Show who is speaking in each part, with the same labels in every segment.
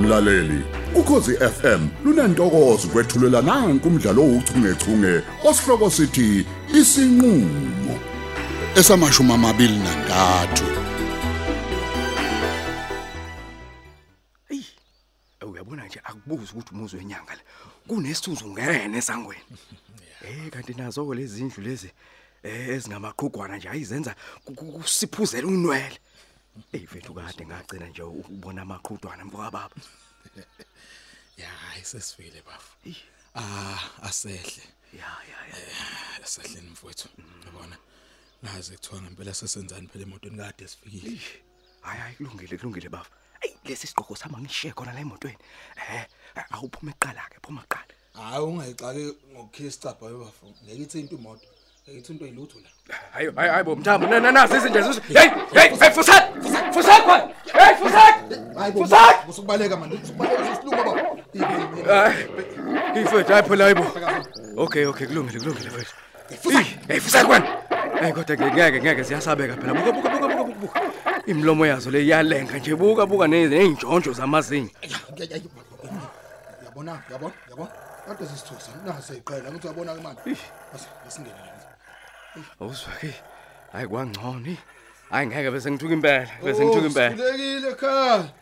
Speaker 1: mlaleli ukhosi FM lunantokozo kwethulela nanku umdlalo ouchungechunge osihloko sithi isinqulo esamashumi amabili nantathu
Speaker 2: eyi eh, uyabona nje akubuzi ukuthi umuzi wenyanga le kunesithunzi ngene esangweni eh kanti nazo ke lezi ndlu lezi eh ezingamaqhugwana nje ayizenza ku- ku- kusiphuzela unwele eyi fethu kade ngagcina nje ukubona amaqhudwana mfoka baba
Speaker 3: ya hayi sesifile bafu ah asehle
Speaker 2: ya ya ya
Speaker 3: asehle mfowethu yabona ngaze kuthiwa ngempela sesenzani phela emotweni kade sifikile
Speaker 2: hayi hayi kulungile kulungile baba eyi lesi sigqoko sama ngishiye khona la emotweni eh awuphuma eqala ke phuma eqala
Speaker 3: hayi ungayixaki ngokukhisa icabha yobafu ngeke ithi into imoto ngeke ithi into ilutho la
Speaker 2: hayi hayi hayi bomthambo nana nazi izinto lezi hey hey hey fusat fusat khona hey fusat fusat
Speaker 3: usukubaleka manje usukubaleka usilunga baba
Speaker 2: Hayi mfethu hayi phela hayibo. Okay okay kulungile kulungile mfethu. Eyi, Hey fusa kwani. Hey kodwa ke ngeke ngeke siyasabeka phela. Buka buka buka buka buka, buka. Imlomo yazo le iyalenga nje buka buka ne- nezinjonjo zamazinyo.
Speaker 3: yabona yabona yabona kade sisithusa nase iqela ukuthi uyabona ke manje asingene
Speaker 2: Awuzwa ke. Hayi kwangcono. Hayi ngeke bese ngithuka impela. Bese ngithuka impela.
Speaker 3: Kulekile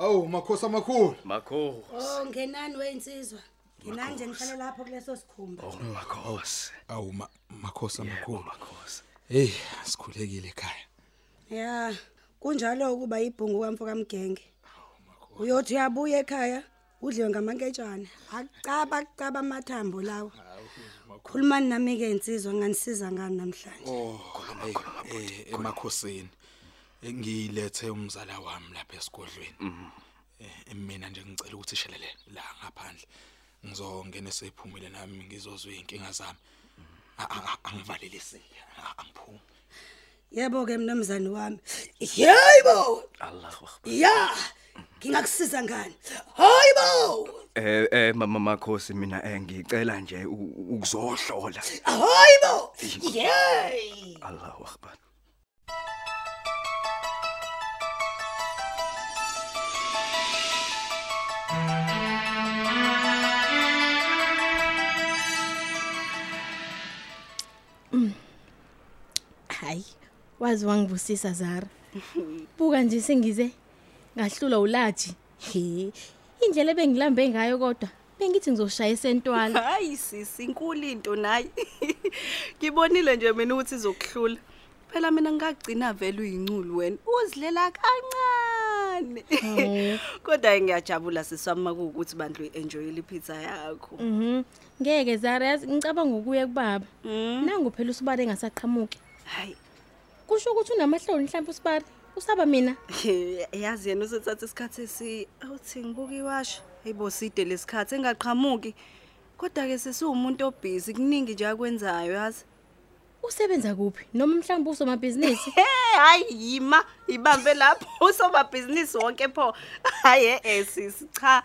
Speaker 3: Oh, ekhaya. Awu makhosi amakhulu.
Speaker 2: Makho.
Speaker 4: Oh ngenani weinsizwa. Nginani nje ngihlale lapho kuleso sikhumba.
Speaker 2: Oh makhosi.
Speaker 3: Awu ma- makhosi
Speaker 2: Yebo
Speaker 3: amakhulu.
Speaker 2: makhosi.
Speaker 3: Hey, sikhulekile ekhaya.
Speaker 4: Ya, kunjalo ukuba ibhungu kamfo kamgenge. Uyothi uyabuya ekhaya udliwe ngamanketshana. Acaba acaba amathambo lawo. Khulumani nami ke insizwa nganisiza ngani namhlanje.
Speaker 3: Oh, khuluma khuluma bhuti. eh, Emakhosini. Ngilethe umzala wami lapha esigodlweni. Eh mina nje ngicela ukuthi ishelele la ngaphandle. Ngizongena sephumile nami ngizozwe inkinga zami. A- a- a- Angivalelisile, a- angiphumi.
Speaker 4: Yebo ke mnumzane wami. Yebo.
Speaker 2: Allahu akbar.
Speaker 4: Ya. Ngingakusiza ngani? Hayibo!
Speaker 2: Eh eh mama makhosi mina eh ngicela nje u- ukuzohlola.
Speaker 4: Hayibo! Yey!
Speaker 2: Allahu akbar.
Speaker 5: hayi wazi wangivusisa zara buka nje sengize ngahlulwa ulaji he indlela bengilambe ngayo kodwa bengithi ngizoshaya esentwala
Speaker 6: hayi sisi inkulu into nayi ngibonile nje mina ukuthi izokuhlula phela mina ngingagcina vele uyinculu wena uzilela kancane kodwa ngiyajabula sisami makuwukuthi bandlu i-enjoyile iphitha yakho
Speaker 5: mhm ngeke zara yazi ngicabanga ukuya kubaba
Speaker 6: Mm.
Speaker 5: nangu phela usibare engasaqhamuki
Speaker 6: hayi
Speaker 5: kusho ukuthi unamahloni mhlawumbe usibare usaba mina
Speaker 6: yazi yena usethatha isikhathi esi awuthi ngibuka iwasha hayibo side lesikhathi engaqhamuki kodwa-ke sesiwumuntu obhizi kuningi nje akwenzayo yazi
Speaker 5: usebenza kuphi noma mhlawumbe usomabhizinisi
Speaker 6: Hey hayi yima ibambe lapho usobabhizinisi wonke pho haye esisi cha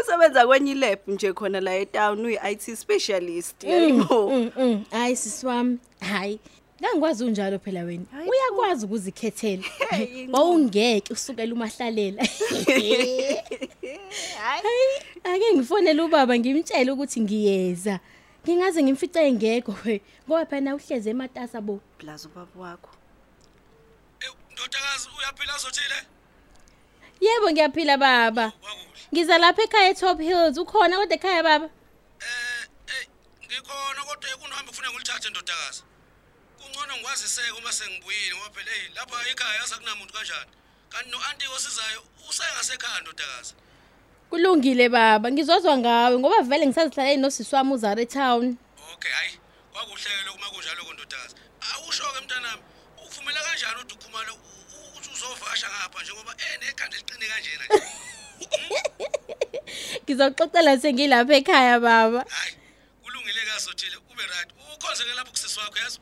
Speaker 6: usebenza kwenye lab nje khona la etown uyi-IT specialist yebo
Speaker 5: Mm, mm, hayi sisi wami hayi ngangikwazi unjalo phela wena
Speaker 6: Hayi bo.
Speaker 5: uyakwazi ukuzikhethela
Speaker 6: Hey, inqondo.
Speaker 5: wawungeke usukela umahlalela hayi ake ngifonele ubaba ngimtshele ukuthi ngiyeza ngingaze ngimfice engekho we ngoba phela uhleze ematasa bo
Speaker 6: blazo baba wakho
Speaker 3: Ndodakazi uyaphila zothile?
Speaker 5: yebo ngiyaphila baba ngiza lapha ekhaya etop hills ukhona kodwa ekhaya baba
Speaker 3: Eh, eh ngikhona kodwa kunohambe ufuna ngilithathe ndodakazi. Kungcono ngikwaziseke uma sengibuyile ngoba phela hey lapha ekhaya asakunamuntu kanjani. Kanti noanti osizayo usengasekhaya ndodakazi.
Speaker 5: kulungile baba ngizozwa ngawe ngoba vele ngisazihlaleni nosisi wami uzare town
Speaker 3: Okay hayi kwakuhleke lokuma kunjalo kondodakazi. Awusho ke mntanami uvumela kanjani uthi ukhumalo ukuthi uzovasha ngapha njengoba enekhanda eliqine kanjena nje.
Speaker 5: ngizoxoxela sengilapha ekhaya baba
Speaker 3: Hayi kulungile kasothile ube right. Ukhonzeke lapho kusisi wakho yazi.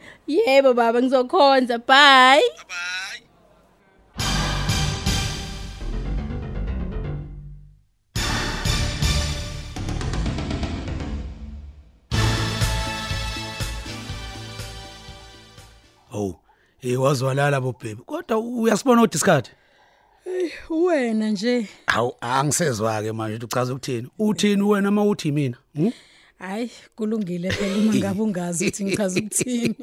Speaker 5: yebo baba ngizokhonza bye
Speaker 3: Bye.
Speaker 7: Oh, hey wazwalala bo baby. Kodwa uyasibona udiscard.
Speaker 8: wena nje
Speaker 7: Hawu angisezwa ke manje ukuthi uchaza ukuthini? Uthini wena uma uthi mina? Hm?
Speaker 8: hayi kulungile phela uma ngabe ungazi ukuthi ngichaza ukuthini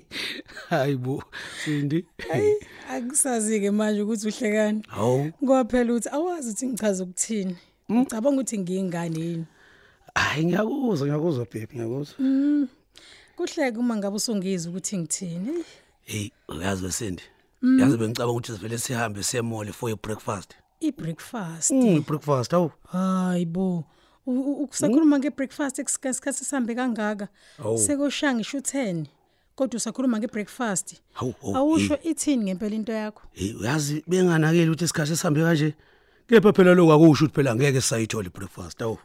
Speaker 7: Hayibo, Sindi.
Speaker 8: hayi akusazi-ke manje ukuthi uhlekani
Speaker 7: Hawu.
Speaker 8: ngoba phela uthi awazi ukuthi ngichaza ukuthini
Speaker 7: Hmm?
Speaker 8: ngicabanga ukuthi ngiyingane yini
Speaker 7: Hayi ngiyakuzwa, ngiyakuzwa baby, ngiyakuzwa.
Speaker 8: kuhleke uma ngabe usungizwa ukuthi ngithini eyi
Speaker 7: Hey, uyazi besindi. Yazi bengicabanga ukuthi sivele sihambe siye mall for ibreakfast.
Speaker 8: i-breakfast
Speaker 7: Ibreakfast, hawu.
Speaker 8: hayi bo u- u- ukusakhuluma nge-breakfast ekusika- isikhathi sihambe kangaka sekoshaya ngisho u-ten kodwa usakhuluma nge-breakfast
Speaker 7: Hawu, hawu,
Speaker 8: awusho ithini ngempela into yakho
Speaker 7: Hey, uyazi benganakile ukuthi isikhathi sihambe kanje. Kepha phela lokho akusho ukuthi phela ngeke sayithola ibreakfast, hawu.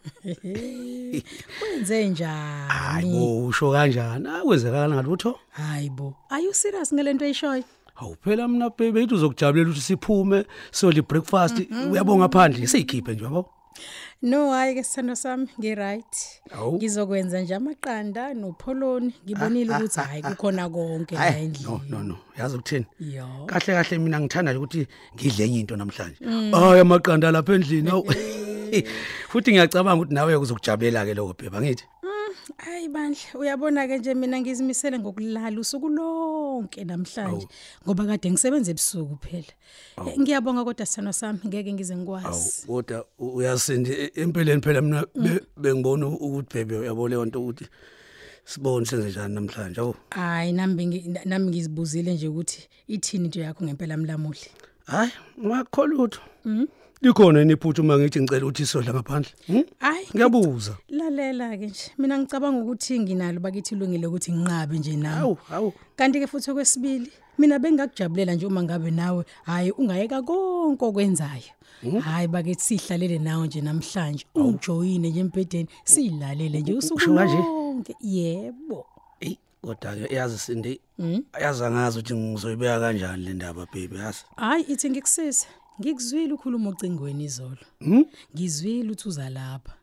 Speaker 8: kwenze njani
Speaker 7: Hayibo, usho kanjani? Akwenzekala ngathi utho.
Speaker 8: hayi bo are you serious ngale nto eyishoyo
Speaker 7: Hawu phela mina baby ethi uzokujabulela ukuthi siphume sodle ibreakfast uyabonga phandle siyikhiphe nje yabo.
Speaker 8: no hhayi-ke sithando sami ngi-right
Speaker 7: Hawu.
Speaker 8: ngizokwenza nje amaqanda nopholoni ngibonile ukuthi hhayi kukhona konke la
Speaker 7: Hayi no
Speaker 8: endlini
Speaker 7: no no yazi ukuthini?
Speaker 8: Yo.
Speaker 7: Kahle kahle mina ngithanda nje ukuthi ngidle enye into namhlanje.
Speaker 8: Mm.
Speaker 7: Hayi amaqanda lapha endlini hawu. Futhi ngiyacabanga ukuthi nawe uzokujabulela ke lokho baby ngithi.
Speaker 8: hayi bandla uyabona-ke nje mina ngizimisele ngokulala usuku lonke namhlanje ngoba kade ngisebenza ebusuku phela Eh, ngiyabonga kodwa sithando sami ngeke ngize
Speaker 7: Hawu
Speaker 8: ngikwazi
Speaker 7: kodwa u- uyasindi e- empeleni phela mina be-
Speaker 8: Mm.
Speaker 7: bengibona ukuthi baby uyabo leyo nto ukuthi sibone senze njani namhlanje hawu.
Speaker 8: hhayi nami bengi- na- nami ngizibuzile nje ukuthi ithini into yakho ngempela mlamuhle
Speaker 7: Hayi ngakholutho.
Speaker 8: Mm.
Speaker 7: Mhm. Likhona yini iphuthu uma ngithi ngicela ukuthi isodla ngaphandle? Mhm.
Speaker 8: hayi
Speaker 7: Ngiyabuza.
Speaker 8: lalela-ke nje mina ngicabanga ukuthi nginalo bakithi ilungile ukuthi nginqabe nje nawe
Speaker 7: Hawu, hawu.
Speaker 8: kanti-ke futhi okwesibili mina bengingakujabulela nje uma ngabe nawe hhayi ungayeka konke okwenzayo hhayi bakithi siyihlalele nawe nje namhlanje ungijoyine nje empedeni siyilalele nje usuku
Speaker 7: usho kanje?
Speaker 8: lonke yebo
Speaker 7: Ey, kodwa ke yazi Sindi, yazi angazi ukuthi ngizoyibeka kanjani le ndaba baby, yazi.
Speaker 8: hhayi ithi ngikusiza ngikuzwile ukhuluma ocingweni izolo
Speaker 7: Hmm?
Speaker 8: ngizwile uthi uza lapha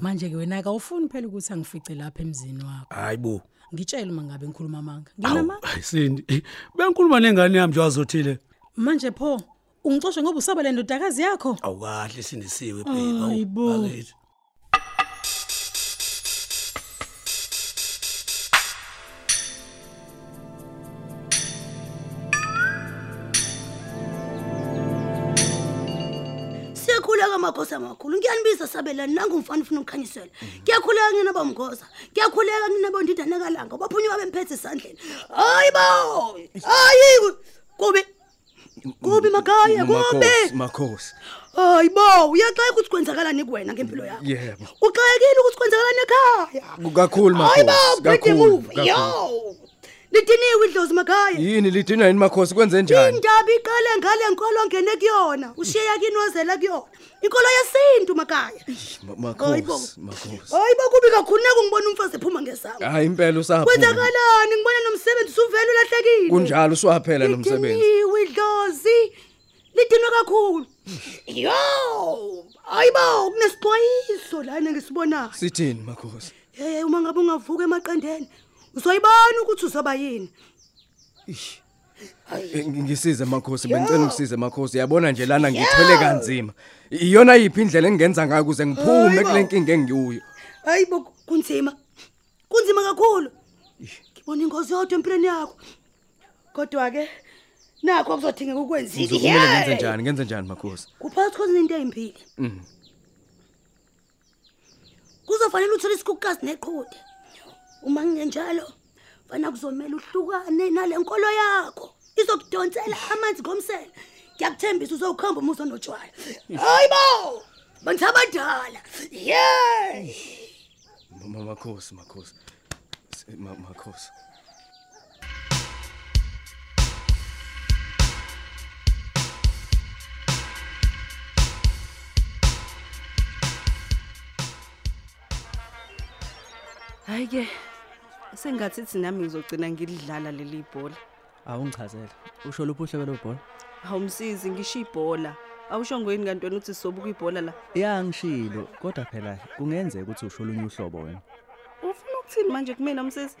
Speaker 8: manje-ke wena-ke awufuni phela ukuthi angifice lapha emzini wakho
Speaker 7: Hayibo.
Speaker 8: ngitshele uma ngabe ngikhuluma amanga
Speaker 7: Hawu,
Speaker 8: nginamanga
Speaker 7: hayi Sindi. Eh, Bengikhuluma nengane yami nje wazothile.
Speaker 8: manje pho ungicoshe ngoba usaba le ndodakazi yakho
Speaker 7: Awukahle sindisiwe baby.
Speaker 8: Hayibo.
Speaker 7: bakithi.
Speaker 4: siyakhuleka magosi amakhulu ngiyanibiza sabelani nangumfana ufuna ukukhanyisela ngiyakhuleka ngina bomgoza ngiyakhuleka ngina bondidanekalanga baphunyuka bemphethe isandleni hayi bo hayi kubi kubi makhaya kubi
Speaker 2: Makhosi, makhosi.
Speaker 4: hayi bo uyaxeka ukuthi kwenzakalani kuwena ngempilo yakho
Speaker 2: Yebo.
Speaker 4: uxekekile ukuthi kwenzakalani ekhaya
Speaker 2: Kakhulu
Speaker 4: hayi bo
Speaker 2: makhosi.
Speaker 4: pretty
Speaker 2: Kakhulu.
Speaker 4: move yo
Speaker 2: kakhulu.
Speaker 4: lidiniwe idlozi makhaya
Speaker 2: Yini lidinwa yini makhosi kwenze njani?
Speaker 4: indaba iqale ngale nkolo ongene kuyona ushiya kinozela kuyona inkolo yesintu makhaya
Speaker 2: Ma-
Speaker 4: bo.
Speaker 2: Makhosi, makhosi.
Speaker 4: hayi bakubi kakhulu nake ngibona umfazi ephuma ngesango
Speaker 2: Hayi impela usapho.
Speaker 4: kwenzakalani ngibona nomsebenzi usuvele ulahlekile
Speaker 2: Kunjalo uswaphela nomsebenzi.
Speaker 4: Lidiniwe idlozi lidinwe kakhulu yo hayi bo kunesixwayiso lana ngisibonayo
Speaker 2: Sithini makhosi?
Speaker 4: hey uma ngabe ungavuka emaqendeni uzoyibona ukuthi uzoba yini
Speaker 2: Eh, ngi- Ngisize makhosi, bengicela ungisize makhosi. Uyabona nje lana ngithwele kanzima. Iyona yiphi indlela engenza ngayo ukuze ngiphume
Speaker 4: Hayi bo.
Speaker 2: kule nkinga engiyuyo.
Speaker 4: hayi bo kunzima kunzima kakhulu ngibona ingozi yodwa empilweni yakho kodwa-ke nakho kuzodingeka ukwenzile
Speaker 2: Ngizokumele ngenze njani? Mm. Ngenze njani makhosi?
Speaker 4: kuphakathi kwezinto ey'mbili kuzofanele uthole isikhukukazi neqhude uma kungenjalo fana kuzomele uhlukane nale nkolo yakho izokudonsela amanzi ngomsele ngiyakuthembisa uzowukhamba uma uzonotshwala hayi bo bantu abadala ye
Speaker 2: Mama makhosi, makhosi. S- ma- Makhosi.
Speaker 6: Hayi ke sengathi thina nami ngizogcina ngilidlala leli bhola.
Speaker 9: awungichazele usho luphi uhlobo lobhola
Speaker 6: Awumsizi ngisho ibhola. Awusho ngoyini kanti wena uthi sobuka ibhola la?
Speaker 9: ya ngishilo kodwa phela kungenzeka ukuthi usho olunye uhlobo wena
Speaker 6: Ufuna ukuthini manje kumina umsisi?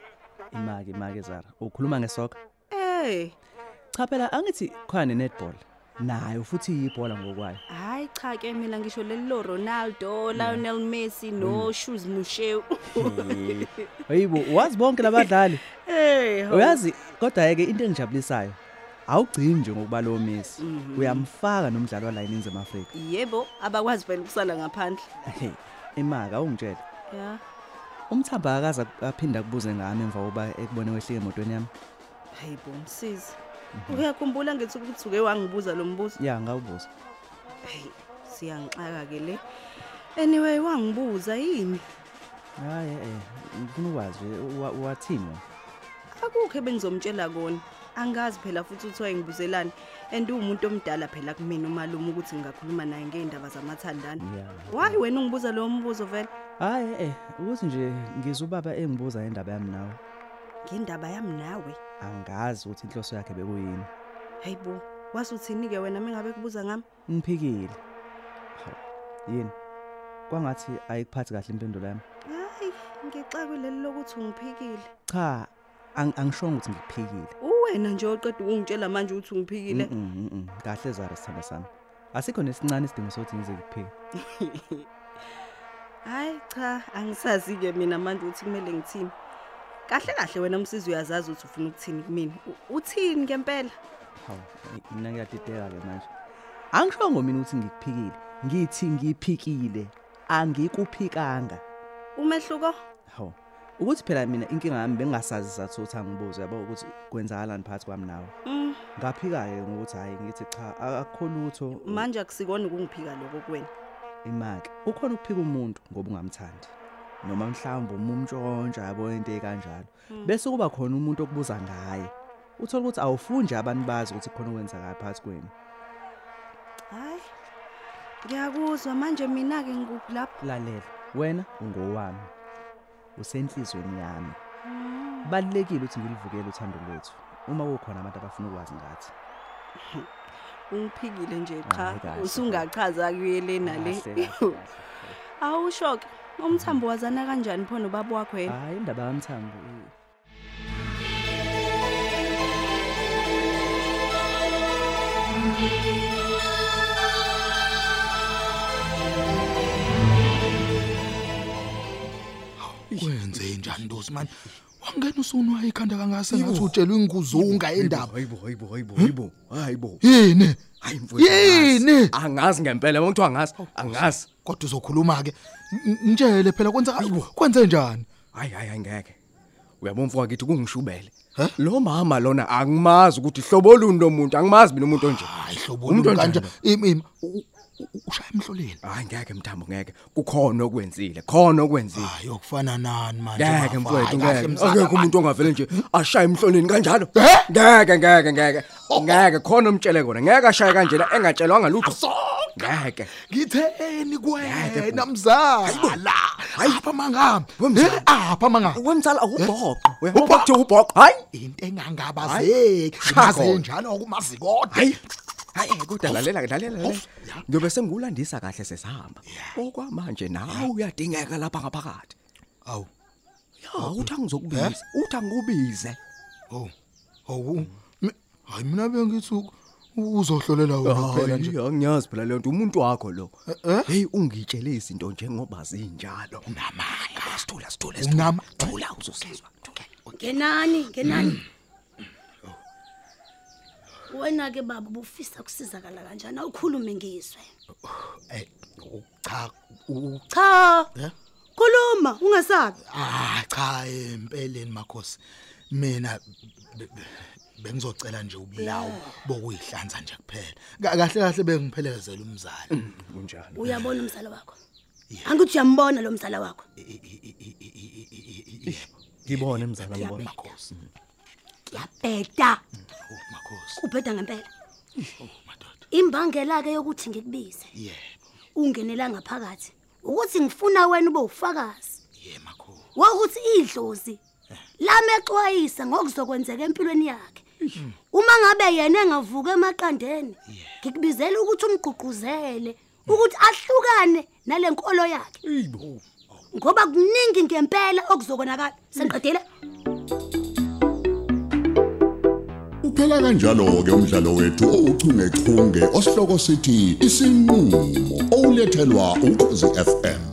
Speaker 9: imaki imaki zara ukhuluma ngesoka
Speaker 6: Eh,
Speaker 9: cha phela angithi khona ne-netball nayo futhi iyibhola ngokwayo
Speaker 6: hayi cha ke mina ngisho leli lo Ronaldo Lionel Messi no Shoes Mushew
Speaker 9: hayibo wazi bonke labadlali
Speaker 6: hey ho.
Speaker 9: uyazi kodwa ke into engijabulisayo awugcini nje ngokuba lo Messi uyamfaka nomdlalo la eNingizimu Afrika
Speaker 6: yebo abakwazi phela ukusala ngaphandle
Speaker 9: Hey, imaka ungitshela
Speaker 6: ya
Speaker 9: umthamba akaza aphinda kubuze ngami emva koba ekubone wehlike emotweni yami Mhm.
Speaker 6: hayi bo msisi uyakhumbula ngithi ukuthi uke wangibuza lo mbuzo
Speaker 9: ya ngawubuza
Speaker 6: hey siyangixaka ke le anyway wangibuza yini
Speaker 9: hayi eh ngifuna ukwazi nje, wa- wathini wena?
Speaker 6: akukho ebengizomtshela kona angazi phela futhi uthiwa ngibuzelani and uwumuntu omdala phela kumina umalume ukuthi ngingakhuluma naye ngeendaba zamathandana
Speaker 9: Ya.
Speaker 6: wayi wena ungibuza lowo mbuzo vele
Speaker 9: hayi eh ukuthi nje ngizwe ubaba engibuza indaba yami nawe
Speaker 6: ngendaba yami nawe
Speaker 9: angazi ukuthi inhloso yakhe bekuyini
Speaker 6: hayi bo wasuthini-ke wena mengabe kubuza ngami
Speaker 9: ngiphikile Hawu, yini kwangathi ayikuphathi kahle impendulo yami
Speaker 6: hayi ngixakuleli lokuthi ungiphikile
Speaker 9: cha ang- angishongo ukuthi ngiphikile
Speaker 6: uwena nje oqeda ukungitshela manje ukuthi ungiphikile
Speaker 9: Mm, mm, mm, mm. kahle zara sithanda sami asikho nesincane isidingo sokuthi ngize ngikuphike
Speaker 6: hayi cha angisazi-ke mina manje ukuthi kumele ngithini kahle kahle wena msizi uyazazi ukuthi ufuna ukuthini kumina U- uthini ngempela
Speaker 9: hawu eh, mina ngiyadideka-ke manje angishongo mina ukuthi ngikuphikile ngithi ngiphikile angikuphikanga
Speaker 6: umehluko
Speaker 9: hawu ukuthi phela mina inkinga yami bengingasazi sizathu ukuthi angibuze yabo ukuthi kwenzakalani phakathi kwami nawe
Speaker 6: Mm.
Speaker 9: ngaphika-ke ngokuthi hhayi ngithi cha a- akukho lutho
Speaker 6: manje akusikona ukungiphika loko kuwena
Speaker 9: imake ukhona ukuphika umuntu ngoba ungamthandi noma mhlawumbe umumtshontsha yabo into ekanjalo bese kuba khona umuntu okubuza ngaye uthola ukuthi awufuni nje abantu bazi ukuthi khona okwenzakayo phakathi kwenu
Speaker 6: hhayi ngiyakuzwa manje mina-ke ngikuphi lapho
Speaker 9: lalela wena ungowami usenhlizweni yami Hmm. kubalulekile ukuthi ngilivukele uthando lwethu uma kukhona abantu abafuna ukwazi ngathi
Speaker 6: ungiphikile nje
Speaker 9: Hhayi,
Speaker 6: cha
Speaker 9: Ah, kahle,
Speaker 6: usungachaza kuyele nale
Speaker 9: Kahle, kahle, kahle.
Speaker 6: awusho-ke umthambo wazana kanjani phona ubaba wakho yena
Speaker 9: hhayi indaba yamthambo i-
Speaker 10: Wenze njani ndosi man? Wangena usunwa ikhanda kangase ngathi utshelwe inguzunga endaba.
Speaker 2: hayibo hayibo hayibo hayibo hayibo
Speaker 10: Yini?
Speaker 2: hayi mfowethu
Speaker 10: Yini?
Speaker 2: angazi Oh, ngempela wonke angazi angazi
Speaker 10: Kodwa uzokhuluma ke. Ngitshele phela kwenza kwenze njani?
Speaker 2: hayi hayi hayi, ngeke uyabona mfowethu ngithi kungishubele lo mama lona angimazi ukuthi hlobo luni lo muntu angimazi mina umuntu onje
Speaker 10: Hayi hlobo kanje.
Speaker 2: onjani?
Speaker 10: Imima ushaya emhloleni.
Speaker 2: hayi ngeke mthambo ngeke kukhona okwenzile khona okwenzile
Speaker 10: Hayi okufana nani manje?
Speaker 2: ngeke
Speaker 10: bafa?
Speaker 2: mfowethu
Speaker 10: Hayi, kahle
Speaker 2: ngeke
Speaker 10: mzala
Speaker 2: akekho
Speaker 10: man.
Speaker 2: umuntu ongavele nje ashaye emhlonini kanjalo ngeke ngeke ngeke ngeke khona umtshele kona ngeke ashaye kanjena engatshelwanga lutho ngeke
Speaker 10: Ngitheni
Speaker 2: Ngeke,
Speaker 10: kuwena
Speaker 2: bo.
Speaker 10: mzala? Apha mangami.
Speaker 2: Wemzala.
Speaker 10: Eh, Apha mangami.
Speaker 2: wemzala awubhoqo
Speaker 10: Ubhoqo.
Speaker 2: uyabona kuthiwa ubhoqo hayi
Speaker 10: into engangabazeki ngaze
Speaker 2: Shaka.
Speaker 10: njalo kumazikode
Speaker 2: hayi hayi kodwa lalela ke lalela lalela. ngiyobe sengiwulandisa kahle sesihamba okwamanje nawe uyadingeka lapha ngaphakathi
Speaker 10: awu
Speaker 2: ya uthi angizokubiza uthi angikubize
Speaker 10: awu awu mi- hayi mina bengithi u- uzohlolela wena kuphela nje
Speaker 2: Hayi, angiyazi phela leyo nto umuntu wakho lo
Speaker 10: eh?
Speaker 2: heyi ungitshele izinto njengoba zinjalo unamanga sithula sithula
Speaker 10: Unama-
Speaker 2: thula uzosizwa thula.
Speaker 4: ngenani ngenani Oh. wena-ke baba bufisa kusizakala kanjani awukhulume ngizwe
Speaker 10: Eh, u- cha u-
Speaker 4: cha
Speaker 10: Eh?
Speaker 4: khuluma ungasabi
Speaker 10: ah cha empeleni makhosi mina be- be- bengizocela nje ubulawo bokuyihlanza nje kuphela Ka- kahle kahle bengiphelezela umzala
Speaker 2: kunjani
Speaker 4: uyabona umzala wakho angithi uyambona lo mzala wakho
Speaker 2: ngibone mzala ngibone
Speaker 10: makhosi
Speaker 4: ngiyabheda
Speaker 10: oh makhosi
Speaker 4: ubheda ngempela
Speaker 10: oh madoda
Speaker 4: imbangela-ke yokuthi ngikubize
Speaker 10: yebo
Speaker 4: ungenela ngaphakathi ukuthi ngifuna wena ube ufakazi
Speaker 10: ye Eh. makhosi
Speaker 4: wokuthi idlozi lamexwayisa ngokuzokwenzeka empilweni yakhe
Speaker 10: Mm.
Speaker 4: uma ngabe yena engavuka emaqandeni ngikubizela ukuthi umgqugquzele ukuthi ahlukane nale nkolo yakhe ngoba kuningi ngempela okuzokonakala sengiqedile
Speaker 1: Uphela kanjalo ke umdlalo wethu ouchungechunge osihloko sithi isinqulo olethelwa ukhozi FM.